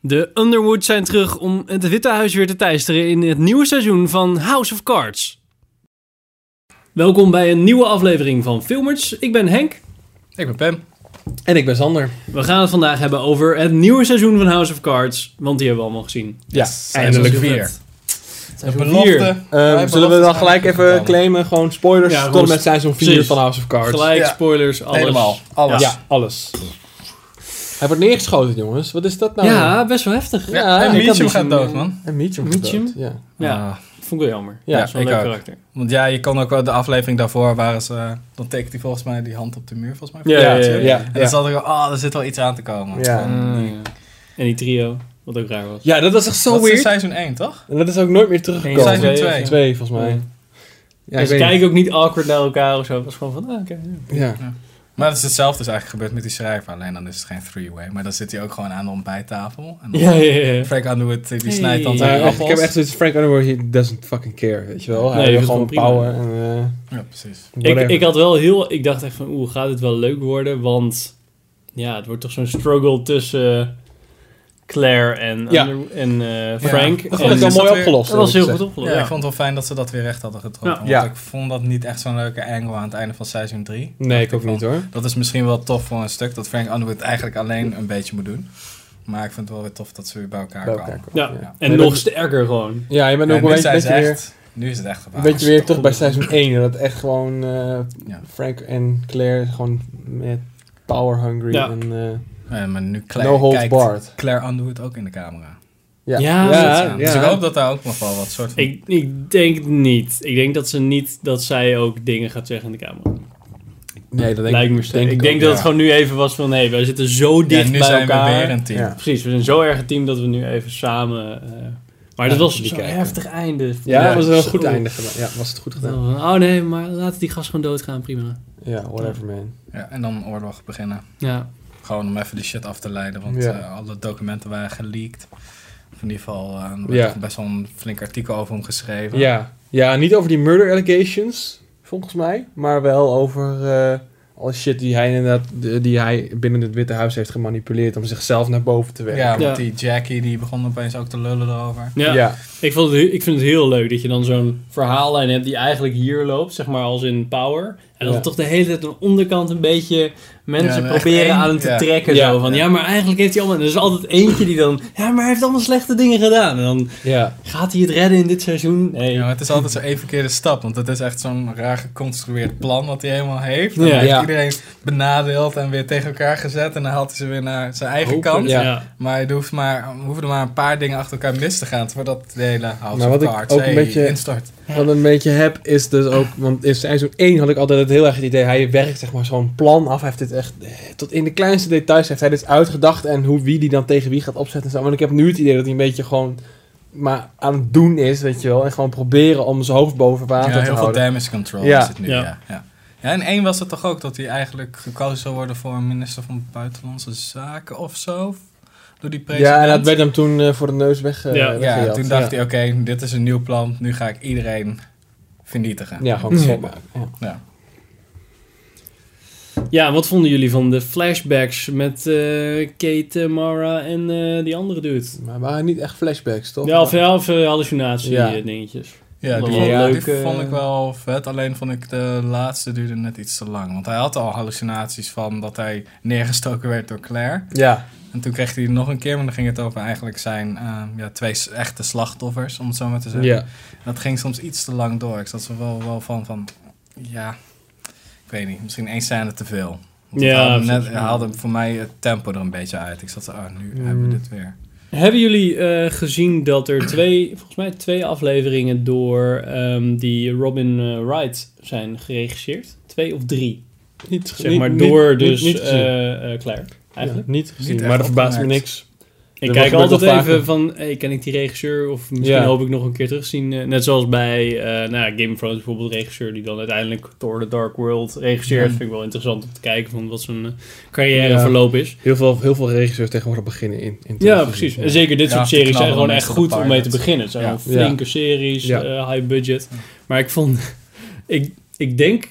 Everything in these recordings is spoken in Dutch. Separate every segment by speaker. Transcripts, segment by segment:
Speaker 1: De Underwood zijn terug om het Witte Huis weer te teisteren in het nieuwe seizoen van House of Cards. Welkom bij een nieuwe aflevering van Filmers. Ik ben Henk.
Speaker 2: Ik ben Pam.
Speaker 3: En ik ben Sander.
Speaker 1: We gaan het vandaag hebben over het nieuwe seizoen van House of Cards, want die hebben we allemaal gezien.
Speaker 2: Yes,
Speaker 3: Ja,
Speaker 2: eindelijk
Speaker 3: seizoen
Speaker 2: weer.
Speaker 3: vet.
Speaker 2: Een
Speaker 1: vier.
Speaker 2: belofte.
Speaker 3: Ehm,
Speaker 2: Wij
Speaker 3: zullen we
Speaker 2: beloften
Speaker 3: dan
Speaker 2: zijn
Speaker 3: gelijk even
Speaker 2: gekomen.
Speaker 3: claimen? Gewoon spoilers
Speaker 1: Ja,
Speaker 3: tot
Speaker 1: gewoon
Speaker 3: en met seizoen 4
Speaker 1: precies.
Speaker 3: van House of Cards.
Speaker 1: Gelijk,
Speaker 2: Ja.
Speaker 1: spoilers, alles.
Speaker 2: Helemaal. Alles.
Speaker 3: Ja, alles. Hij wordt neergeschoten, jongens. Wat is dat nou?
Speaker 1: Ja, best wel heftig.
Speaker 2: Ja, en
Speaker 3: ik had
Speaker 2: Meacham
Speaker 3: die
Speaker 2: gaat
Speaker 3: zien,
Speaker 2: dood,
Speaker 3: eh,
Speaker 2: man.
Speaker 3: En Meacham.
Speaker 1: Meacham?
Speaker 3: Meacham? Ja.
Speaker 1: Ja,
Speaker 2: Ah,
Speaker 1: vond ik wel jammer.
Speaker 3: Ja,
Speaker 1: Ja, zo'n
Speaker 2: ik
Speaker 1: leuk
Speaker 2: ook.
Speaker 1: karakter.
Speaker 2: want ja, je kon ook wel de aflevering daarvoor waren ze... eh, dan tekent hij volgens mij die hand op de muur, volgens mij.
Speaker 1: Ja, ja, ja,
Speaker 2: En
Speaker 1: ja.
Speaker 2: dan zat ik al, ah, er zit wel iets aan te komen.
Speaker 3: Ah, Ja.
Speaker 2: Gewoon, eh,
Speaker 1: En die trio, wat ook raar was.
Speaker 3: Ja, dat was echt Mm. zo
Speaker 2: dat is in
Speaker 3: weird.
Speaker 2: seizoen 1, toch?
Speaker 3: En dat is ook nooit meer
Speaker 1: Eén,
Speaker 3: teruggekomen.
Speaker 2: Seizoen
Speaker 1: twee,
Speaker 2: twee.
Speaker 3: Twee, volgens mij. Ja,
Speaker 1: en
Speaker 3: ik
Speaker 1: ze
Speaker 3: weet
Speaker 1: kijken ook niet awkward naar elkaar of zo. Het was gewoon van, ah, oké. ja.
Speaker 3: niet. Ja.
Speaker 2: Maar dat is hetzelfde is eigenlijk gebeurd met die schrijver. Alleen dan is het geen three-way. Maar dan zit hij ook gewoon aan de ontbijttafel. En dan
Speaker 1: Ja, ja, ja.
Speaker 2: Frank Underwood, eh, die
Speaker 1: Hey.
Speaker 2: snijdt dan
Speaker 1: Ja,
Speaker 3: Maar
Speaker 2: zijn
Speaker 1: ja,
Speaker 3: echt, ik heb
Speaker 2: appels.
Speaker 3: echt zoiets Frank Underwood, he doesn't fucking care, weet je wel. Hij
Speaker 1: Nee,
Speaker 3: wil
Speaker 1: vindt
Speaker 3: gewoon
Speaker 1: het gewoon
Speaker 3: power en eh,
Speaker 2: Ja, precies.
Speaker 3: whatever.
Speaker 1: Ik, ik had wel heel... Ik dacht echt van, oeh, gaat dit wel leuk worden? Want ja, het wordt toch zo'n struggle tussen eh, Claire en,
Speaker 3: Ja.
Speaker 1: Under- en eh, Frank.
Speaker 3: Dat
Speaker 1: En
Speaker 3: vond ik wel
Speaker 2: is dat
Speaker 3: mooi
Speaker 2: weer-
Speaker 3: opgelost.
Speaker 1: dat was heel goed
Speaker 3: eerlijk gezegd.
Speaker 1: opgelost.
Speaker 2: Ja,
Speaker 1: Ja,
Speaker 2: ik vond het wel fijn dat ze dat weer recht hadden getrokken.
Speaker 3: Ja.
Speaker 2: Want ik vond dat niet echt zo'n leuke angle aan het einde van seizoen 3.
Speaker 3: Nee, ik ook niet hoor.
Speaker 2: Dat is misschien wel tof voor een stuk dat Frank Underwood eigenlijk alleen een beetje moet doen. Maar ik vind het wel weer tof dat ze weer bij elkaar
Speaker 3: Bij
Speaker 2: komen.
Speaker 3: elkaar komen.
Speaker 1: Ja.
Speaker 2: Ja.
Speaker 1: En
Speaker 3: Nee,
Speaker 1: nog
Speaker 3: dat-
Speaker 1: sterker gewoon.
Speaker 3: Ja, je bent
Speaker 2: En
Speaker 3: ook wel
Speaker 2: nu,
Speaker 3: een
Speaker 2: zijn
Speaker 3: beetje
Speaker 2: ze
Speaker 3: weer...
Speaker 2: echt, nu is het echt
Speaker 3: Een
Speaker 2: gebaasd.
Speaker 3: beetje weer terug bij seizoen 1. Dat echt gewoon eh,
Speaker 2: Ja.
Speaker 3: Frank en Claire gewoon met power hungry
Speaker 1: Ja.
Speaker 3: en eh,
Speaker 2: Eh, maar nu Claire,
Speaker 3: no holds
Speaker 2: kijkt
Speaker 3: barred.
Speaker 2: Claire Underwood ook in de camera.
Speaker 3: Ja,
Speaker 1: Ja,
Speaker 2: Dus, eh, Dus ik hoop dat daar ook nog wel wat soort van...
Speaker 1: Ik, ik denk het niet. Ik denk dat ze niet... Dat zij ook dingen gaat zeggen in de camera.
Speaker 3: Nee, dat denk
Speaker 1: Lijkt me
Speaker 3: ik.
Speaker 1: sterk. Ik,
Speaker 3: ik
Speaker 1: denk
Speaker 2: ook,
Speaker 1: dat
Speaker 2: ja.
Speaker 1: het gewoon nu even was van... Hé, wij zitten zo
Speaker 2: Ja,
Speaker 1: dicht
Speaker 2: nu
Speaker 1: bij
Speaker 2: zijn
Speaker 1: elkaar.
Speaker 2: we weer een team.
Speaker 3: Ja.
Speaker 1: Precies, we zijn zo erg een team dat we nu even samen. eh, maar
Speaker 3: Ja,
Speaker 1: dat was
Speaker 3: die
Speaker 1: zo'n
Speaker 3: kijken.
Speaker 1: heftig einde.
Speaker 3: Ja,
Speaker 2: Ja,
Speaker 3: was wel een
Speaker 1: zo.
Speaker 3: goed einde gedaan. Ja, was het goed
Speaker 1: Dat we
Speaker 3: gedaan.
Speaker 1: van, Oh nee, maar laten die gast gewoon doodgaan, prima.
Speaker 3: Ja, whatever man.
Speaker 2: Ja, en dan oorlog beginnen.
Speaker 1: Ja,
Speaker 2: Gewoon om even die shit af te leiden, want
Speaker 3: Ja.
Speaker 2: eh, alle documenten waren geleakt. Of in ieder geval, eh, er werd
Speaker 3: Ja.
Speaker 2: toch best wel een flink artikel over hem geschreven.
Speaker 3: Ja. ja, niet over die murder allegations, volgens mij. Maar wel over eh alle shit die hij inderdaad, de- die hij binnen het Witte Huis heeft gemanipuleerd om zichzelf naar boven te werken.
Speaker 2: Ja, want
Speaker 1: Ja.
Speaker 2: die Jackie die begon opeens ook te lullen erover.
Speaker 1: ja.
Speaker 3: ja.
Speaker 1: Ik, vond het, he- ik vind het heel leuk dat je dan zo'n verhaallijn hebt die eigenlijk hier loopt, zeg maar als in Power. En dat
Speaker 3: Ja.
Speaker 1: toch de hele tijd aan de onderkant een beetje mensen
Speaker 2: Ja, echt
Speaker 1: proberen
Speaker 2: één-
Speaker 1: aan hem te
Speaker 2: ja.
Speaker 1: trekken.
Speaker 3: Ja.
Speaker 1: Zo van,
Speaker 2: Ja.
Speaker 1: ja. maar eigenlijk heeft hij allemaal... En er is altijd eentje die dan, ja, maar hij heeft allemaal slechte dingen gedaan. En dan
Speaker 3: ja.
Speaker 1: gaat hij het redden in dit seizoen. Nee,
Speaker 2: Ja, maar het is altijd zo één verkeerde stap, want het is echt zo'n raar geconstrueerd plan wat hij helemaal heeft. En
Speaker 1: Ja.
Speaker 2: dan heeft
Speaker 3: Ja.
Speaker 2: iedereen benadeeld en weer tegen elkaar gezet en dan haalt hij ze weer naar zijn eigen
Speaker 1: Hopelijk.
Speaker 2: kant.
Speaker 3: Ja.
Speaker 2: Maar er, hoeft maar er hoeven er maar een paar dingen achter elkaar mis te gaan voordat de hele House
Speaker 3: Maar wat
Speaker 2: of
Speaker 3: ik
Speaker 2: Cards
Speaker 3: ook een
Speaker 2: hey,
Speaker 3: beetje-
Speaker 2: instort.
Speaker 3: Wat ik een beetje heb is dus ook, want in seizoen 1 had ik altijd het heel erg het idee, hij werkt zeg maar zo'n plan af, heeft dit echt, eh, tot in de kleinste details heeft hij dit uitgedacht en hoe, wie die dan tegen wie gaat opzetten en zo. Maar ik heb nu het idee dat hij een beetje gewoon maar aan het doen is, weet je wel, en gewoon proberen om zijn hoofd boven water
Speaker 2: Ja,
Speaker 3: te
Speaker 2: heel veel
Speaker 3: houden.
Speaker 2: damage control
Speaker 3: Ja.
Speaker 2: is het nu.
Speaker 1: Ja.
Speaker 2: Ja. Ja, ja. en één was het toch ook dat hij eigenlijk gekozen zou worden voor minister van Buitenlandse Zaken of zo? Door die president.
Speaker 3: Ja, en dat werd hem toen eh, voor de neus weg. eh,
Speaker 1: Ja.
Speaker 2: Ja,
Speaker 3: weggejaagd.
Speaker 2: toen
Speaker 3: ja.
Speaker 2: dacht hij, oké, dit is een nieuw plan. Nu ga ik iedereen vernietigen.
Speaker 3: Ja, gewoon
Speaker 1: Ja.
Speaker 3: schrik maken. Ja.
Speaker 2: Ja.
Speaker 1: Ja, en wat vonden jullie van de flashbacks met eh, Kate, eh, Mara en eh, die andere dude?
Speaker 3: Maar het waren niet echt flashbacks, toch?
Speaker 1: Ja, of, ja, of eh, hallucinatie
Speaker 3: Ja.
Speaker 1: eh, dingetjes.
Speaker 2: Ja, die,
Speaker 1: Wel
Speaker 2: vond,
Speaker 3: leuk,
Speaker 2: die
Speaker 3: eh.
Speaker 2: vond ik wel vet. Alleen vond ik de laatste duurde net iets te lang. Want hij had al hallucinaties van dat hij neergestoken werd door Claire.
Speaker 3: Ja,
Speaker 2: En toen kreeg hij nog een keer, maar dan ging het over eigenlijk zijn eh, ja, twee s- echte slachtoffers, om het zo maar te zeggen.
Speaker 3: ja.
Speaker 2: Dat ging soms iets te lang door. Ik zat er wel, wel van van, ja, ik weet niet, misschien één scène te veel. Want het
Speaker 1: Ja,
Speaker 2: haalde, net,
Speaker 1: precies.
Speaker 2: haalde voor mij het tempo er een beetje uit. Ik zat zo, ah,
Speaker 1: Mm.
Speaker 2: nu hebben we dit weer.
Speaker 1: Hebben jullie eh, gezien dat er twee, volgens mij twee afleveringen door ehm, die Robin eh, Wright zijn geregisseerd? Twee of drie,
Speaker 3: Niet,
Speaker 1: zeg
Speaker 3: niet-
Speaker 1: maar,
Speaker 3: niet-
Speaker 1: door
Speaker 3: niet-
Speaker 1: dus
Speaker 3: niet gezien.
Speaker 1: eh, eh, Claire, eigenlijk.
Speaker 3: Ja, niet gezien,
Speaker 2: Niet echt
Speaker 3: maar dat verbaast me
Speaker 2: opgemerkt.
Speaker 3: niks.
Speaker 1: Ik
Speaker 3: Dat
Speaker 1: kijk
Speaker 3: gebeurt
Speaker 1: altijd
Speaker 3: wel
Speaker 1: even
Speaker 3: vaker.
Speaker 1: van, hey, ken ik die regisseur? Of misschien
Speaker 3: Ja.
Speaker 1: hoop ik nog een keer terugzien. eh, net zoals bij eh, nou, ja, Game of Thrones bijvoorbeeld, de regisseur die dan uiteindelijk Thor The Dark World regisseert.
Speaker 2: Ja.
Speaker 1: Vind ik wel interessant om te kijken van wat zijn eh, carrièreverloop
Speaker 3: Ja.
Speaker 1: verloop is.
Speaker 3: Heel veel, heel veel regisseurs tegenwoordig beginnen in, in
Speaker 1: Ja,
Speaker 3: televisie.
Speaker 1: precies.
Speaker 3: Ja.
Speaker 1: En zeker dit
Speaker 2: Ja,
Speaker 1: soort
Speaker 2: te
Speaker 1: series zijn
Speaker 2: knallen
Speaker 1: gewoon
Speaker 2: dan
Speaker 1: echt
Speaker 2: is dat
Speaker 1: goed
Speaker 2: de
Speaker 1: om mee te
Speaker 2: pilot.
Speaker 1: beginnen. Het zijn
Speaker 2: Ja.
Speaker 1: gewoon flinke series,
Speaker 3: Ja.
Speaker 1: eh, high budget. Maar ik vond... Ik, ik denk...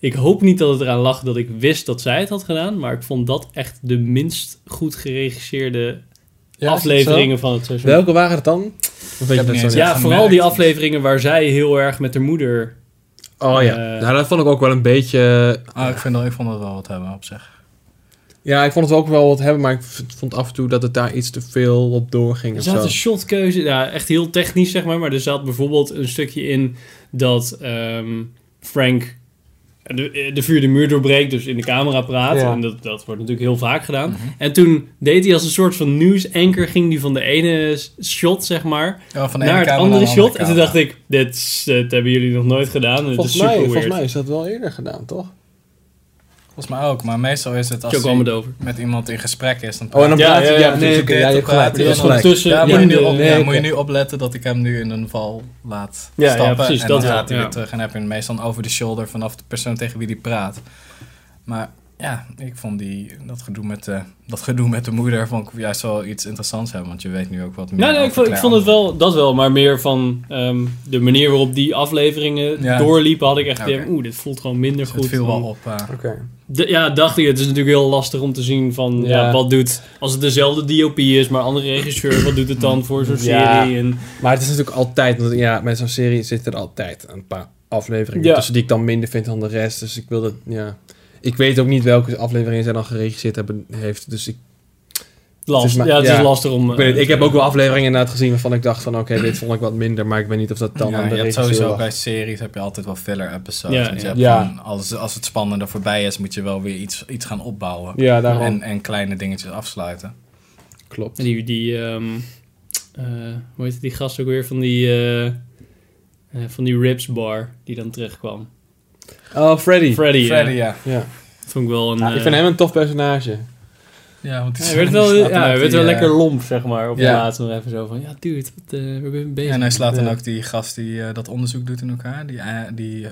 Speaker 1: Ik hoop niet dat het eraan lag dat ik wist dat zij het had gedaan. Maar ik vond dat echt de minst goed geregisseerde
Speaker 3: Ja, is
Speaker 1: afleveringen van het
Speaker 3: dat
Speaker 1: seizoen.
Speaker 3: zo? Welke waren het dan? Of weet
Speaker 2: heb
Speaker 3: dat
Speaker 2: niet
Speaker 3: zo
Speaker 2: eens-
Speaker 3: niet?
Speaker 1: Ja,
Speaker 2: Ja,
Speaker 1: vooral
Speaker 2: gemerkt.
Speaker 1: die afleveringen waar zij heel erg met haar moeder...
Speaker 3: Oh ja.
Speaker 1: Eh,
Speaker 3: nou, dat vond ik ook wel een beetje... eh,
Speaker 2: Ah, ik, vind dat, ik vond dat wel wat hebben op zich.
Speaker 3: Ja, ik vond het ook wel wat hebben, maar ik v- vond af en toe dat het daar iets te veel op doorging.
Speaker 1: Er
Speaker 3: of
Speaker 1: zat
Speaker 3: zo.
Speaker 1: een shotkeuze, ja, echt heel technisch zeg maar, maar er zat bijvoorbeeld een stukje in dat ehm, Frank de, de vuur de muur doorbreekt, dus in de camera praat.
Speaker 3: Ja.
Speaker 1: En dat, dat wordt natuurlijk heel vaak gedaan.
Speaker 2: Mhm.
Speaker 1: En toen deed hij als een soort van nieuwsanker, ging hij van de ene s- shot zeg maar,
Speaker 2: Ja, van de
Speaker 1: naar
Speaker 2: ene
Speaker 1: het
Speaker 2: camera
Speaker 1: andere
Speaker 2: naar
Speaker 1: shot. En toen
Speaker 2: camera.
Speaker 1: dacht ik, dit, is- dit hebben jullie nog nooit gedaan. Dit
Speaker 3: Volgens
Speaker 1: is super
Speaker 3: mij, volgens
Speaker 1: weird.
Speaker 3: mij is dat wel eerder gedaan, toch?
Speaker 2: Volgens mij ook, maar meestal is het als
Speaker 1: Zo
Speaker 2: hij
Speaker 1: kwam het over.
Speaker 2: met iemand in gesprek is, dan
Speaker 3: Oh, en dan
Speaker 1: Ja,
Speaker 3: praat
Speaker 1: ja,
Speaker 3: hij...
Speaker 1: ja,
Speaker 3: Ja,
Speaker 2: nee,
Speaker 3: precies. oké,
Speaker 2: dit
Speaker 3: Ja, je
Speaker 2: op
Speaker 3: hebt gelijk.
Speaker 2: praten
Speaker 3: Je hebt
Speaker 2: en
Speaker 3: gelijk.
Speaker 1: ondertussen-
Speaker 2: Ja, moet,
Speaker 1: Ja,
Speaker 2: je nu op,
Speaker 3: nee,
Speaker 2: ja,
Speaker 3: oké.
Speaker 2: moet je nu opletten dat ik hem nu in een val laat
Speaker 1: Ja, ja,
Speaker 2: stappen.
Speaker 1: precies,
Speaker 2: en
Speaker 1: dat
Speaker 2: dan
Speaker 1: wel,
Speaker 2: gaat hij
Speaker 1: ja.
Speaker 2: weer terug en heb je hem meestal over de shoulder vanaf de persoon tegen wie hij praat. Maar ja, ik vond die, dat, gedoe met de, dat gedoe met de moeder vond ik juist wel iets interessants hebben. Want je weet nu ook wat meer
Speaker 1: Nou, nee, ik,
Speaker 2: over
Speaker 1: vond, ik
Speaker 2: Claire
Speaker 1: vond het
Speaker 2: Anders.
Speaker 1: wel, dat wel, maar meer van ehm, de manier waarop die afleveringen
Speaker 2: Ja.
Speaker 1: doorliepen, had ik echt
Speaker 2: Oké.
Speaker 1: idee, oeh, dit voelt gewoon minder
Speaker 2: Dus
Speaker 1: goed.
Speaker 2: Het viel wel
Speaker 1: dan-
Speaker 2: op. eh,
Speaker 3: Oké.
Speaker 1: De- ja, dacht ik. Het is natuurlijk heel lastig om te zien van ja.
Speaker 3: Ja.
Speaker 1: wat doet als het dezelfde DOP is, maar andere regisseur, wat doet het dan voor zo'n
Speaker 3: Ja.
Speaker 1: serie? En,
Speaker 3: Maar het is natuurlijk altijd, want ja, met zo'n serie zitten er altijd een paar afleveringen
Speaker 1: Ja.
Speaker 3: tussen die ik dan minder vind dan de rest. Dus ik wil dat, ja. Ik weet ook niet welke afleveringen zij dan geregisseerd hebben, heeft. Dus ik,
Speaker 1: last.
Speaker 3: Het is maar-
Speaker 1: ja, het is
Speaker 3: ja.
Speaker 1: lastig om.
Speaker 3: ik, weet het,
Speaker 1: eh,
Speaker 3: ik heb ook wel afleveringen inderdaad gezien waarvan ik dacht van oké, dit vond ik wat minder. Maar ik weet niet of dat dan
Speaker 2: ja,
Speaker 3: aan de
Speaker 2: je hebt
Speaker 3: regisseur
Speaker 2: sowieso
Speaker 3: lag.
Speaker 2: bij series heb je altijd wel filler episodes.
Speaker 1: Ja,
Speaker 2: want je
Speaker 1: ja.
Speaker 2: hebt
Speaker 3: Ja.
Speaker 2: gewoon- als, als het spannender voorbij is, moet je wel weer iets, iets gaan opbouwen.
Speaker 3: Ja, daarom.
Speaker 2: En, en kleine dingetjes afsluiten.
Speaker 3: Klopt.
Speaker 1: Die, die ehm, eh, hoe heet het, die gast ook weer van die, eh, eh, van die Rips Bar die dan terugkwam.
Speaker 3: Oh, Freddy.
Speaker 1: Freddy.
Speaker 2: Freddy,
Speaker 1: eh,
Speaker 2: ja.
Speaker 3: Ja.
Speaker 1: vond ik wel een.
Speaker 3: Ja,
Speaker 1: eh,
Speaker 3: ik vind hem een tof personage.
Speaker 2: Ja, want die
Speaker 1: hij werd wel,
Speaker 2: die slaat
Speaker 1: ja,
Speaker 2: dan
Speaker 1: hij
Speaker 2: ook
Speaker 1: werd
Speaker 2: die,
Speaker 1: wel
Speaker 2: eh,
Speaker 1: lekker lomp, zeg maar. Op de
Speaker 3: Ja.
Speaker 1: laatste nog even zo van, ja, dude, wat, eh, waar ben je mee bezig?
Speaker 2: En hij slaat dan
Speaker 3: Ja.
Speaker 2: ook die gast die eh, dat onderzoek doet in elkaar. Die, eh, die eh,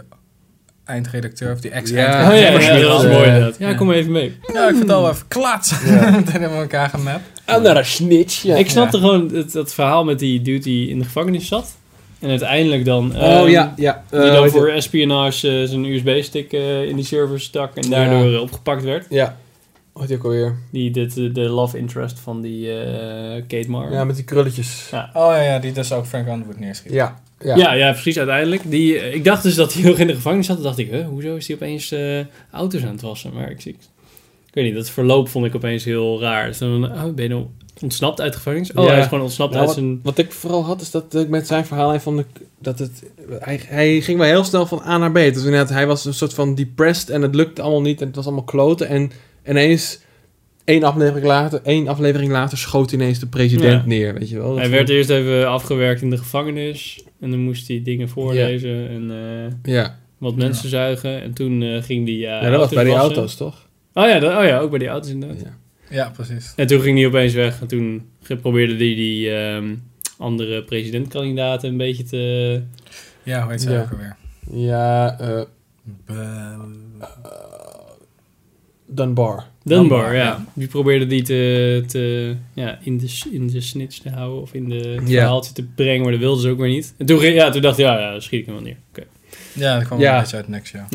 Speaker 2: eindredacteur of die
Speaker 1: Oh ja,
Speaker 3: Ja,
Speaker 2: ex-eindredacteur.
Speaker 1: ja,
Speaker 3: precies.
Speaker 1: dat was mooi
Speaker 3: Eh,
Speaker 1: inderdaad. Ja,
Speaker 2: ja.
Speaker 1: kom even mee.
Speaker 2: ja. ik vind het al even klats.
Speaker 3: Ja.
Speaker 2: Toen hebben we elkaar gemapt.
Speaker 3: Andere snitch. Ja.
Speaker 1: ik snapte
Speaker 2: Ja.
Speaker 1: gewoon het, dat verhaal met die dude die in de gevangenis zat. En uiteindelijk dan...
Speaker 3: oh
Speaker 1: ehm,
Speaker 3: ja, ja.
Speaker 1: Die
Speaker 3: eh,
Speaker 1: dan
Speaker 3: weet
Speaker 1: voor
Speaker 3: het.
Speaker 1: espionage eh, zijn USB-stick eh, in die server stak en daardoor eh, opgepakt werd.
Speaker 3: Ja. Wat ook alweer?
Speaker 1: Die, dit, eh, de love interest van die eh, Kate Mara.
Speaker 3: Ja,
Speaker 1: Ja,
Speaker 3: met die krulletjes.
Speaker 1: Ja.
Speaker 2: Oh ja, ja, die dus ook Frank Underwood neerschiet.
Speaker 3: Ja. Ja.
Speaker 1: ja, precies, uiteindelijk. Die, eh, ik dacht dus dat hij nog in de gevangenis zat. Toen dacht ik, huh, hoezo is hij opeens eh, auto's aan het wassen? Maar ik, ik, ik weet niet, dat verloop vond ik opeens heel raar. Dus dan, oh, ben je nou ontsnapt uit de gevangenis? Oh,
Speaker 3: Ja.
Speaker 1: hij is gewoon ontsnapt
Speaker 3: Nou,
Speaker 1: uit zijn...
Speaker 3: Wat ik vooral had, is dat ik met zijn verhaal hij vond ik dat het. Hij, hij ging wel heel snel van A naar B. Dus inderdaad, hij was een soort van depressed en het lukte allemaal niet en het was allemaal kloten. En ineens, één aflevering later, één aflevering later schoot ineens de president
Speaker 1: Ja.
Speaker 3: neer. Weet je wel? Dat
Speaker 1: Hij
Speaker 3: vond
Speaker 1: werd
Speaker 3: ik-
Speaker 1: eerst even afgewerkt in de gevangenis. En dan moest hij dingen voorlezen en eh,
Speaker 3: Ja.
Speaker 1: wat mensen zuigen. En toen eh, ging hij... eh,
Speaker 3: ja, dat was bij die
Speaker 1: wassen.
Speaker 3: auto's toch?
Speaker 1: Oh ja, dat- oh ja, ook bij die auto's inderdaad.
Speaker 3: Ja.
Speaker 2: Ja, precies.
Speaker 1: En toen ging hij opeens weg. En toen ge- probeerde hij die ehm, andere presidentkandidaten een beetje te...
Speaker 2: Ja, hoe heet ze
Speaker 3: Ja.
Speaker 2: ook alweer?
Speaker 3: Ja, eh,
Speaker 2: Be-
Speaker 3: Dunbar.
Speaker 1: Dunbar,
Speaker 2: Dunbar,
Speaker 1: ja.
Speaker 2: ja.
Speaker 1: Die probeerde die te, te ja, in, de, s- in de snitch te houden. Of in de het
Speaker 3: Ja.
Speaker 1: verhaaltje te brengen. Maar dat wilden ze ook weer niet. En toen, ging- ja, toen dacht hij, ja, ja, dan schiet ik hem wel neer. Oké.
Speaker 2: Ja, dat kwam
Speaker 3: Ja.
Speaker 2: een beetje uit niks, ja.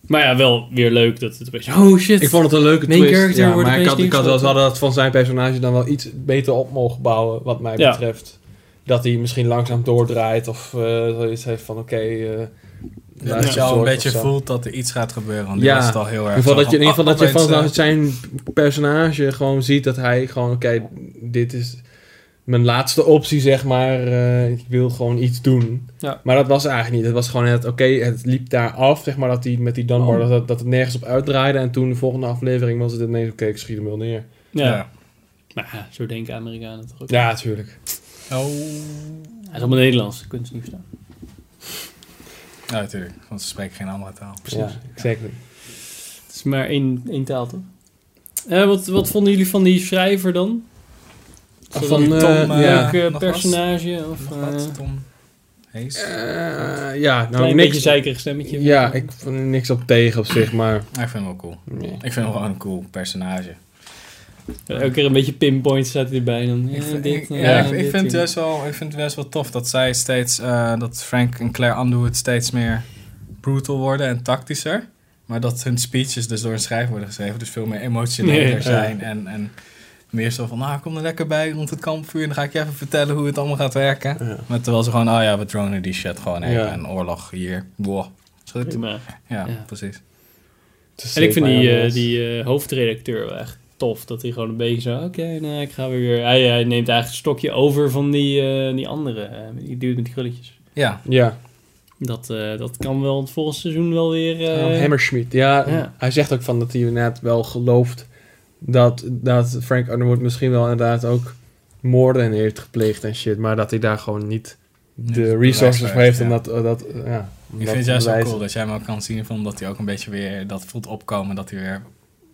Speaker 1: Maar ja, wel weer leuk dat het een beetje... Oh shit.
Speaker 3: Ik vond het een leuke
Speaker 1: Main
Speaker 3: twist.
Speaker 1: character
Speaker 3: Ja,
Speaker 1: wordt
Speaker 3: maar ik
Speaker 1: opeens
Speaker 3: had, ik had wel
Speaker 1: neergeschoten.
Speaker 3: hadden dat van zijn personage dan wel iets beter op mogen bouwen, wat mij
Speaker 1: Ja.
Speaker 3: betreft. Dat hij misschien langzaam doordraait of eh, zoiets heeft van oké. eh,
Speaker 2: Ja,
Speaker 3: luister
Speaker 2: dat je al een
Speaker 3: zorg
Speaker 2: beetje
Speaker 3: of zo.
Speaker 2: voelt dat er iets gaat gebeuren. Want die
Speaker 3: Ja.
Speaker 2: was het al heel
Speaker 3: In
Speaker 2: erg.
Speaker 3: ieder geval dat
Speaker 2: zo
Speaker 3: je, in ieder
Speaker 2: van,
Speaker 3: geval dat je
Speaker 2: ah,
Speaker 3: van
Speaker 2: opeens,
Speaker 3: zijn personage gewoon ziet dat hij gewoon oké, dit is mijn laatste optie zeg maar. eh, ik wil gewoon iets doen.
Speaker 1: Ja.
Speaker 3: Maar dat was eigenlijk niet. Het was gewoon net oké, het liep daar af zeg maar dat hij met die Dunbar
Speaker 1: Oh.
Speaker 3: dat- dat, dat het nergens op uitdraaide en toen de volgende aflevering was het ineens oké, ik schiet hem wel neer.
Speaker 2: eh,
Speaker 1: ja. Maar ja, zo denken Amerikanen toch ook.
Speaker 3: Ja, natuurlijk.
Speaker 2: Ja. Oh.
Speaker 1: Hij is allemaal Nederlands, ik kunt het niet verstaan.
Speaker 2: Ja, natuurlijk. Want ze spreken geen andere taal.
Speaker 3: Ja, exactly.
Speaker 1: Het is maar één, één taal toch? Eh, wat, wat vonden jullie van die schrijver dan?
Speaker 3: Ah,
Speaker 1: Zo'n
Speaker 3: van,
Speaker 1: leuk,
Speaker 3: eh,
Speaker 1: eh,
Speaker 3: ja.
Speaker 1: leuk, eh,
Speaker 2: Nog
Speaker 1: personage? Of,
Speaker 2: Nog
Speaker 1: eh,
Speaker 2: wat, Tom Hees.
Speaker 3: Eh, ja, nou,
Speaker 1: klein beetje
Speaker 3: niks.
Speaker 1: zeikerig stemmetje.
Speaker 3: Ja, ik vond er niks op tegen op zich, maar.
Speaker 2: Ah, ik vind hem wel cool.
Speaker 3: Nee.
Speaker 2: Ik vind hem wel een cool personage.
Speaker 1: Elke keer een beetje pinpoint staat hij erbij. Dan,
Speaker 2: ik,
Speaker 1: ja,
Speaker 2: vind-
Speaker 1: dit,
Speaker 2: ik-
Speaker 1: eh,
Speaker 2: ja, ik- ik
Speaker 1: dit
Speaker 2: vind het
Speaker 1: hier.
Speaker 2: juist wel, ik vind het best wel tof dat zij steeds, eh, dat Frank en Claire Underwood steeds meer brutal worden en tactischer. Maar dat hun speeches dus door een schrijver worden geschreven, dus veel meer emotioneler
Speaker 1: Ja, ja.
Speaker 2: zijn en, en Meer zo van, nou, kom er lekker bij rond het kampvuur en dan ga ik je even vertellen hoe het allemaal gaat werken.
Speaker 3: Ja.
Speaker 2: Maar terwijl ze gewoon, oh ja, we dronen die shit gewoon heen
Speaker 3: Ja.
Speaker 2: en oorlog hier. Wow. Is goed.
Speaker 1: Prima.
Speaker 2: Ja,
Speaker 1: Ja.
Speaker 2: precies.
Speaker 1: En ik vind die, eh, die eh, hoofdredacteur wel echt tof. Dat hij gewoon een beetje zo, oké, nou, ik ga weer... Hij, hij neemt eigenlijk het stokje over van die, eh, die andere. eh, die dude met die krulletjes.
Speaker 2: Ja,
Speaker 3: Ja,
Speaker 1: Dat, eh, dat kan wel het volgende seizoen wel weer... eh,
Speaker 2: Oh,
Speaker 3: Hammerschmidt. Hammerschmidt. Ja,
Speaker 1: ja.
Speaker 3: hij zegt ook van dat hij inderdaad wel gelooft dat, dat Frank Underwood misschien wel inderdaad ook moorden heeft gepleegd en shit. Maar dat hij daar gewoon niet
Speaker 2: het
Speaker 3: de
Speaker 2: bewijs
Speaker 3: resources
Speaker 2: heeft,
Speaker 3: voor heeft. En
Speaker 2: ja.
Speaker 3: dat, eh, dat, ja, om
Speaker 2: ik
Speaker 3: dat
Speaker 2: vind het juist wel
Speaker 3: bewijs-
Speaker 2: cool dat jij hem ook kan zien van dat hij ook een beetje weer dat voelt opkomen. Dat hij weer,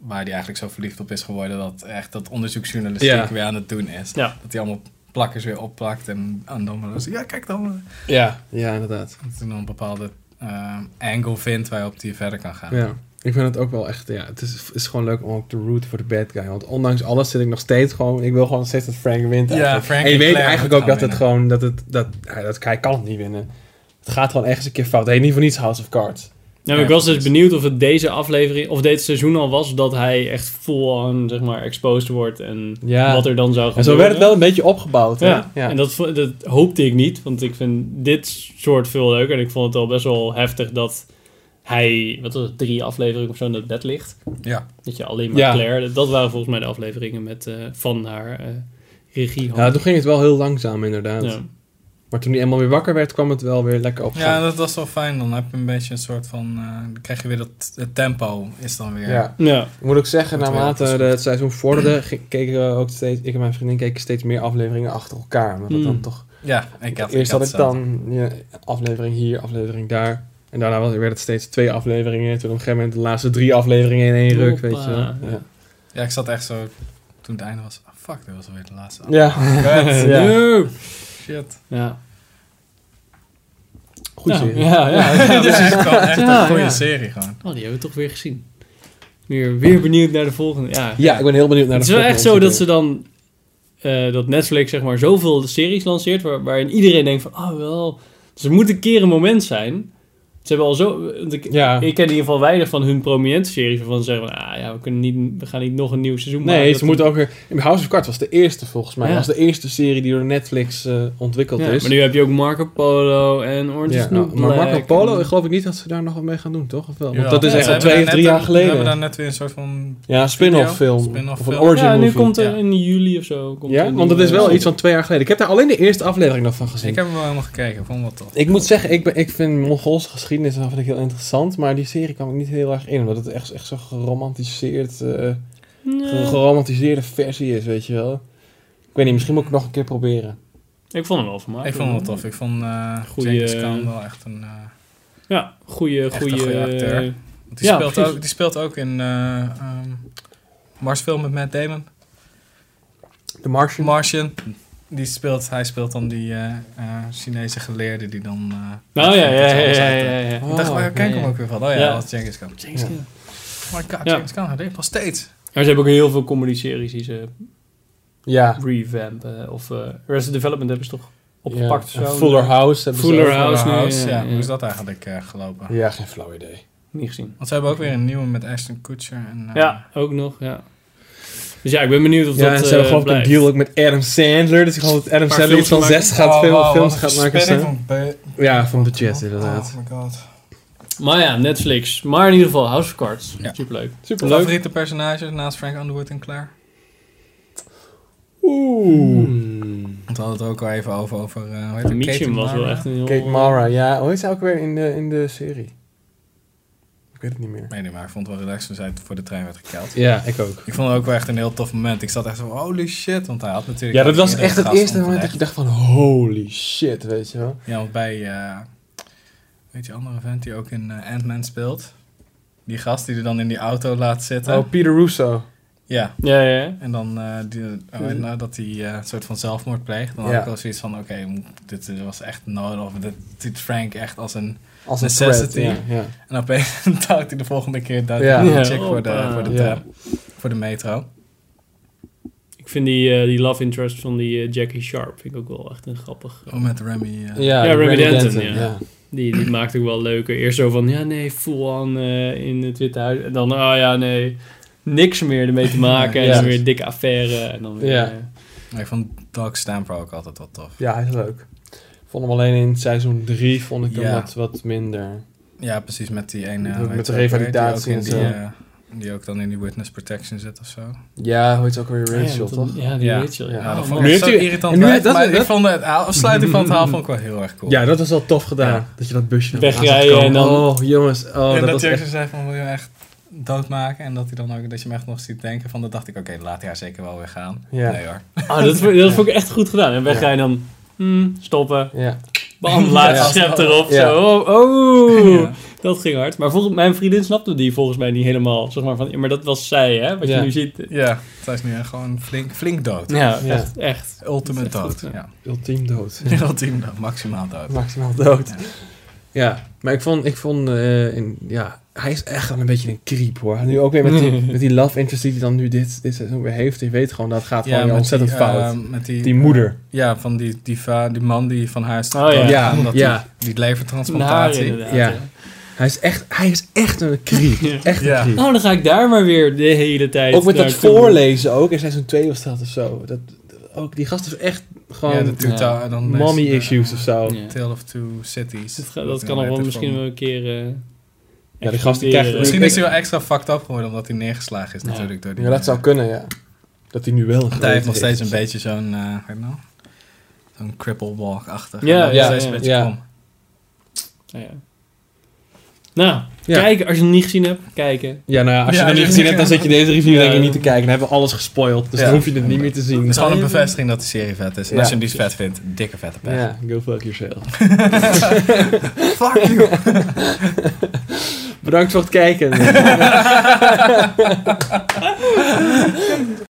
Speaker 2: waar hij eigenlijk zo verliefd op is geworden, dat echt dat onderzoeksjournalistiek
Speaker 3: Ja.
Speaker 2: weer aan het doen is.
Speaker 1: Ja.
Speaker 2: Dat hij allemaal plakkers weer opplakt en, en dan maar zo, ja kijk dan.
Speaker 3: Ja, ja, inderdaad.
Speaker 2: Dat hij dan een bepaalde eh, angle vindt waarop hij verder kan gaan.
Speaker 3: Ja. Ik vind het ook wel echt, ja, het is, is gewoon leuk om ook te root voor de bad guy. Want ondanks alles zit ik nog steeds gewoon, ik wil gewoon nog steeds dat Frank wint.
Speaker 2: Ja,
Speaker 3: eigenlijk.
Speaker 2: Frank
Speaker 3: en je
Speaker 2: en
Speaker 3: weet
Speaker 2: Claire
Speaker 3: eigenlijk ook
Speaker 2: moeten
Speaker 3: dat
Speaker 2: gaan
Speaker 3: het gewoon, dat het, dat, hij- dat, hij kan het niet winnen. Het gaat gewoon ergens een keer fout. Hij heet niet voor niets House of Cards.
Speaker 1: Nou, maar ik
Speaker 2: Ja,
Speaker 1: was dus
Speaker 2: precies.
Speaker 1: benieuwd of het deze aflevering, of dit seizoen al was, dat hij echt full-on, zeg maar, exposed wordt en
Speaker 3: Ja.
Speaker 1: wat er dan zou
Speaker 3: En
Speaker 1: gebeuren.
Speaker 3: zo werd het wel een beetje opgebouwd. hè?
Speaker 1: Ja,
Speaker 3: ja.
Speaker 1: en dat, vo- dat hoopte ik niet, want ik vind dit soort veel leuker. En ik vond het al best wel heftig dat hij, wat was het, drie afleveringen of zo in het bed ligt.
Speaker 2: Ja.
Speaker 1: Dat je alleen maar
Speaker 3: Ja.
Speaker 1: Claire, dat waren volgens mij de afleveringen met, eh, van haar eh regie.
Speaker 3: Ja, toen ging het wel heel langzaam inderdaad.
Speaker 1: Ja.
Speaker 3: Maar toen hij eenmaal weer wakker werd, kwam het wel weer lekker op
Speaker 2: Ja,
Speaker 3: gang.
Speaker 2: dat was wel fijn. Dan heb je een beetje een soort van. eh, dan krijg je weer dat het tempo, is dan weer.
Speaker 3: Ja.
Speaker 1: Ja.
Speaker 3: Moet ik zeggen,
Speaker 2: Dat
Speaker 3: naarmate
Speaker 2: wel.
Speaker 3: de- eh, het seizoen vorderde, ging- keken we ook steeds, ik en mijn vriendin keken steeds meer afleveringen achter elkaar. Omdat dat
Speaker 1: Hmm.
Speaker 3: dan toch,
Speaker 2: Ja, ik had
Speaker 3: eerst
Speaker 2: had
Speaker 3: had ik
Speaker 2: hetzelfde.
Speaker 3: dan ja, aflevering hier, aflevering daar. En daarna was- werd het steeds twee afleveringen. Toen op een gegeven moment de laatste drie afleveringen in één ruk,
Speaker 1: Hoppa.
Speaker 3: weet je wel. Ja.
Speaker 2: Ja, ik zat echt zo. Toen het einde was. ah, fuck, dit was alweer de laatste.
Speaker 3: Ja.
Speaker 2: Kut.
Speaker 1: No.
Speaker 3: Ja.
Speaker 2: Shit.
Speaker 1: Ja.
Speaker 3: Goed
Speaker 1: Nou,
Speaker 3: serie.
Speaker 1: ja, ja, ja.
Speaker 2: Dat dus is gewoon echt
Speaker 1: Ja,
Speaker 2: een goede
Speaker 1: ja.
Speaker 2: serie gewoon.
Speaker 1: Oh, die hebben we toch weer gezien. Weer, weer benieuwd naar de volgende. Ja,
Speaker 3: Ja, ik ben heel benieuwd naar
Speaker 1: het
Speaker 3: de
Speaker 1: is wel echt zo
Speaker 3: volgende
Speaker 1: dat ze dan... eh, dat Netflix zeg maar zoveel series lanceert... Waar, waarin iedereen denkt van... Oh, wel... Ze moeten een keer een moment zijn. Ze hebben al zo... want Ik,
Speaker 3: Ja.
Speaker 1: ik ken in ieder geval weinig van hun prominente series... waarvan ze zeggen van... Ah ja, we, kunnen niet, we gaan niet nog een nieuw seizoen maken.
Speaker 3: Nee,
Speaker 1: Dat-
Speaker 3: ze moeten ook weer... House of Cards was de eerste, volgens mij.
Speaker 1: Ja.
Speaker 3: was de eerste serie die door Netflix eh, ontwikkeld
Speaker 1: Ja,
Speaker 3: is.
Speaker 1: maar nu heb je ook Marco Polo en Orange
Speaker 3: Ja,
Speaker 1: is the New
Speaker 3: nou, maar
Speaker 1: Black
Speaker 3: Marco Polo,
Speaker 1: en-
Speaker 3: geloof ik niet dat ze daar nog wat mee gaan doen, toch? Of wel? Want
Speaker 2: Jawel.
Speaker 3: dat is
Speaker 2: Ja,
Speaker 3: echt
Speaker 2: ze
Speaker 3: al
Speaker 2: hebben
Speaker 3: twee of
Speaker 2: daar
Speaker 3: drie
Speaker 2: net
Speaker 3: jaar
Speaker 2: een-
Speaker 3: geleden.
Speaker 2: We hebben daar net weer een soort van.
Speaker 3: Ja, een spin-off
Speaker 2: Video?
Speaker 3: film.
Speaker 2: Spin-off
Speaker 3: of een
Speaker 2: film.
Speaker 3: origin
Speaker 1: Ja, nu
Speaker 3: movie.
Speaker 1: komt er
Speaker 2: Ja.
Speaker 1: in juli of zo... Komt er
Speaker 3: ja,
Speaker 1: een
Speaker 3: want dat
Speaker 1: nieuwe-
Speaker 3: is wel iets van twee jaar geleden. Ik heb daar alleen de eerste aflevering nog van gezien.
Speaker 2: Ik
Speaker 3: Ik,
Speaker 2: heb hem wel helemaal gekeken. Ik vond hem wel tof.
Speaker 3: moet zeggen, ik, ben, ik vind Mongoolse geschiedenis dat vind ik heel interessant. Maar die serie kwam ik niet heel erg in. Omdat het echt, echt zo'n geromantiseerd, eh,
Speaker 1: Nee.
Speaker 3: geromantiseerde versie is, weet je wel. Ik weet niet, misschien moet ik het nog een keer proberen.
Speaker 1: Ik vond hem wel vermaakt.
Speaker 2: Ik vond hem wel tof. Ik vond eh
Speaker 1: Goeie-
Speaker 2: James Caan wel echt een. eh,
Speaker 1: Ja, eh, goede,
Speaker 2: Echt een
Speaker 1: goede
Speaker 2: goeie acteur. want die,
Speaker 1: Ja,
Speaker 2: speelt
Speaker 1: precies.
Speaker 2: ook, die speelt ook in eh ehm Marsville met Matt Damon.
Speaker 3: The Martian.
Speaker 2: Martian. Die speelt, hij speelt dan die eh, eh, Chinese geleerde die dan... eh,
Speaker 1: Nou ja, ja,
Speaker 2: dat
Speaker 1: ja,
Speaker 2: alles
Speaker 1: ja,
Speaker 2: uit, eh,
Speaker 1: ja, ja.
Speaker 2: Ik dacht, waar
Speaker 3: Oh,
Speaker 2: ken ik
Speaker 1: ja,
Speaker 2: hem
Speaker 1: ja.
Speaker 2: ook weer van? Oh ja,
Speaker 1: Ja.
Speaker 2: dat was Genghis Khan.
Speaker 1: James
Speaker 3: Ja.
Speaker 1: Gunn.
Speaker 2: Oh my god,
Speaker 1: Ja.
Speaker 2: Genghis Khan, hij leeft nog steeds.
Speaker 1: Maar ze hebben ook heel veel comedy-series die ze
Speaker 3: Ja.
Speaker 1: revampen. Of eh Resident Development hebben ze toch opgepakt?
Speaker 3: Ja.
Speaker 1: of zo?
Speaker 3: Fuller House. hebben ze
Speaker 1: Fuller
Speaker 3: ook.
Speaker 1: House, nee,
Speaker 2: House,
Speaker 1: ja,
Speaker 2: ja,
Speaker 1: ja.
Speaker 2: Hoe is dat eigenlijk eh, gelopen?
Speaker 3: Ja, geen flauw idee.
Speaker 1: Niet gezien.
Speaker 2: Want ze hebben ook weer een nieuwe met Ashton Kutcher. En, eh,
Speaker 1: Ja, ook nog, ja. Dus ja, ik ben benieuwd of
Speaker 3: Ja,
Speaker 1: dat
Speaker 3: en
Speaker 1: eh
Speaker 3: ze hebben gewoon
Speaker 1: blijft.
Speaker 3: een deal ook met Adam Sandler. Dus ik geloof dat Adam
Speaker 2: paar
Speaker 3: Sandler iets van
Speaker 2: films
Speaker 3: zes
Speaker 2: maken.
Speaker 3: gaat
Speaker 2: Oh,
Speaker 3: filmen,
Speaker 2: wauw,
Speaker 3: films
Speaker 2: wat
Speaker 3: gaat
Speaker 2: een
Speaker 3: maken.
Speaker 2: spanning
Speaker 3: zo.
Speaker 2: van
Speaker 3: Ja, van
Speaker 2: be-
Speaker 3: budget inderdaad.
Speaker 2: Oh my god.
Speaker 1: Maar ja, Netflix. Maar in ieder geval House of Cards.
Speaker 2: Ja.
Speaker 1: Superleuk.
Speaker 3: Superleuk.
Speaker 2: Favoriete personages naast Frank Underwood en Claire?
Speaker 3: Oeh.
Speaker 2: Want we hadden het er ook al even over. over eh, hoe heet het?
Speaker 1: Medium
Speaker 2: Kate
Speaker 1: was wel
Speaker 2: Mara?
Speaker 1: echt een heel...
Speaker 3: Kate Mara, ja. Hoe heet ze ook weer in de, in de serie? Ik weet het niet meer.
Speaker 2: Ik weet niet, maar ik vond het wel relaxed toen zij voor de trein werd gekeld.
Speaker 3: Ja, ik ook.
Speaker 2: Ik vond het ook wel echt een heel tof moment. Ik zat echt zo van, holy shit. Want hij had natuurlijk...
Speaker 3: Ja, dat was
Speaker 2: iedere
Speaker 3: echt het
Speaker 2: gast
Speaker 3: eerste moment dat
Speaker 2: onterecht.
Speaker 3: je dacht van holy shit, weet je wel.
Speaker 2: Ja, want bij, eh, weet je, andere vent die ook in eh, Ant-Man speelt. Die gast die er dan in die auto laat zitten.
Speaker 3: Oh, Peter Russo.
Speaker 2: Ja,
Speaker 1: Ja, ja, ja.
Speaker 2: en dan eh, die, oh, en, eh, dat hij eh, een soort van zelfmoord pleegt. Dan
Speaker 3: Ja.
Speaker 2: had ik wel zoiets van, oké, moet- dit eh, was echt nodig. Of dit ziet Frank echt als een...
Speaker 3: Als een
Speaker 2: Necessity.
Speaker 3: threat, ja, ja.
Speaker 2: En opeens duikt hij de volgende keer duikt
Speaker 3: Ja.
Speaker 2: hij die
Speaker 1: Ja.
Speaker 2: chick voor de,
Speaker 1: Hoppa.
Speaker 2: voor, de,
Speaker 3: Ja.
Speaker 2: tram, voor de metro.
Speaker 1: Ik vind die, eh, die love interest van die eh, Jackie Sharp vind ik ook wel echt een grappig...
Speaker 2: Oh, met Remy. eh
Speaker 3: Ja,
Speaker 1: Remy
Speaker 3: Remy
Speaker 1: Denton,
Speaker 3: Denton,
Speaker 1: ja. Die, die maakt ook wel leuker. Eerst zo van, ja nee, full on eh, in het Witte Huis. En dan, ah ja nee, niks meer ermee te maken. En
Speaker 3: Ja.
Speaker 1: dan weer een dikke affaire. En dan weer,
Speaker 3: Ja.
Speaker 1: eh,
Speaker 2: Maar ik vond Doug Stamper ook altijd wel tof.
Speaker 3: Ja, hij is leuk. Vond hem alleen in seizoen 3 vond ik hem
Speaker 2: Ja.
Speaker 3: wat, wat minder.
Speaker 2: Ja, precies, met die ene...
Speaker 3: Met-
Speaker 2: weet
Speaker 3: met
Speaker 2: je
Speaker 3: de
Speaker 2: ook weer, die
Speaker 3: revalidatie
Speaker 2: ook in
Speaker 3: en
Speaker 2: die,
Speaker 3: zo.
Speaker 2: eh, die ook dan in die witness protection zit of zo.
Speaker 3: Ja, hoe heet ze ook weer?
Speaker 1: ja,
Speaker 3: Rachel,
Speaker 1: want dan-
Speaker 3: toch?
Speaker 1: Ja, die
Speaker 2: Ja.
Speaker 1: Rachel.
Speaker 3: Ja,
Speaker 1: Ja,
Speaker 2: Ja,
Speaker 1: Oh,
Speaker 2: dat vond
Speaker 1: man.
Speaker 2: ik
Speaker 3: Nu
Speaker 2: echt
Speaker 3: heeft
Speaker 2: zo
Speaker 3: u-
Speaker 2: irritant.
Speaker 3: en nu
Speaker 2: wijf,
Speaker 3: heeft- dat-
Speaker 2: maar ik
Speaker 3: dat-
Speaker 2: vond de afsluiting van het verhaal vond ik wel heel erg cool.
Speaker 3: Ja, dat was wel tof gedaan.
Speaker 2: Ja.
Speaker 3: Dat je dat busje nog
Speaker 1: Wegrijden
Speaker 3: aan zag komen.
Speaker 1: en dan-
Speaker 3: Oh, jongens. Oh,
Speaker 2: en
Speaker 3: dat,
Speaker 2: dat,
Speaker 3: was
Speaker 2: hij ook zo
Speaker 3: echt...
Speaker 2: zei van, wil je hem echt doodmaken? En dat, hij dan ook, dat je hem echt nog ziet denken van, dat dacht ik, oké, laat hij haar zeker wel weer gaan.
Speaker 3: Ja.
Speaker 2: Nee hoor.
Speaker 1: Ah, dat, vond- dat vond ik echt goed gedaan. En wegrijden dan... hmm, stoppen.
Speaker 3: Ja.
Speaker 1: Bam, laatste
Speaker 2: Ja.
Speaker 1: schep erop.
Speaker 3: Ja.
Speaker 1: Zo, oh, oh.
Speaker 2: Ja.
Speaker 1: Dat ging hard. Maar volgens, mijn vriendin snapte die volgens mij niet helemaal. Zeg maar, van, ja, maar dat was zij, hè? Wat
Speaker 3: Ja.
Speaker 1: je nu ziet.
Speaker 2: Ja, zij is nu echt gewoon flink, flink dood.
Speaker 1: Ja,
Speaker 3: Ja.
Speaker 1: echt. echt.
Speaker 2: Ultimate
Speaker 1: Dat is echt goed,
Speaker 2: dood. Ja.
Speaker 3: Ultiem dood.
Speaker 2: Ultiem dood, nou maximaal dood.
Speaker 3: Maximaal dood. Ja. Maar ik vond... Ik vond eh, in, ja, hij is echt wel een beetje een creep, hoor. Nu ook weer met die, met die love interest die hij dan nu dit, dit seizoen weer heeft. Je weet gewoon, dat gaat gewoon
Speaker 2: met
Speaker 3: ontzettend
Speaker 2: die,
Speaker 3: fout.
Speaker 2: eh, met die,
Speaker 3: die moeder.
Speaker 2: Ja, van die, die, va- die man die van haar is
Speaker 1: Oh, ja.
Speaker 3: Ja,
Speaker 2: omdat
Speaker 3: ja.
Speaker 2: Die, die
Speaker 1: Naar
Speaker 2: levertransplantatie.
Speaker 1: inderdaad.
Speaker 3: Ja.
Speaker 1: ja.
Speaker 3: Hij is echt, hij is echt een creep.
Speaker 1: Ja.
Speaker 3: Echt een
Speaker 2: Ja.
Speaker 3: creep.
Speaker 1: Nou, dan ga ik daar maar weer de hele tijd
Speaker 3: Ook met dat
Speaker 1: naartoe.
Speaker 3: voorlezen ook. In seizoen 2 was dat of zo. Dat, ook, die gast is echt gewoon
Speaker 2: ja, dat doet
Speaker 1: Ja.
Speaker 2: daar- dan is
Speaker 3: mommy
Speaker 2: het, eh,
Speaker 3: issues of zo.
Speaker 1: Ja.
Speaker 2: Tale of Two Cities.
Speaker 1: Dat, ga- Dus dat kan nog wel misschien wel een keer... eh,
Speaker 3: Ja, die gast die
Speaker 1: exploderen.
Speaker 3: krijgt-
Speaker 2: Misschien
Speaker 3: Ik-
Speaker 2: is hij wel extra fucked up geworden omdat hij neergeslagen is
Speaker 1: Ja.
Speaker 2: natuurlijk door die... eh,
Speaker 3: Ja, dat zou kunnen, ja. Dat hij nu wel een
Speaker 2: Want hij heeft nog steeds een beetje zo'n, eh weet je nou, zo'n cripple walk-achtig.
Speaker 1: Ja,
Speaker 2: Hij is
Speaker 3: ja,
Speaker 2: steeds
Speaker 1: ja,
Speaker 2: een beetje
Speaker 3: ja.
Speaker 2: krom.
Speaker 1: nou ja. Nou,
Speaker 3: Ja.
Speaker 1: kijk, als je het niet gezien hebt, kijken.
Speaker 3: Ja, nou ja, als je
Speaker 2: Ja,
Speaker 3: het
Speaker 2: ja,
Speaker 3: niet gezien
Speaker 2: ja.
Speaker 3: hebt, dan zit je deze review
Speaker 1: Ja.
Speaker 3: denk ik niet te kijken. Dan hebben we alles gespoild, dus
Speaker 2: Ja.
Speaker 3: dan hoef je het niet meer te zien.
Speaker 2: Het is gewoon een
Speaker 1: Kan je-
Speaker 2: bevestiging dat de serie vet is. En
Speaker 3: Ja.
Speaker 2: als je hem niet vet vindt, dikke vette pech.
Speaker 3: Ja, go fuck yourself.
Speaker 2: Fuck you!
Speaker 3: Bedankt voor het kijken.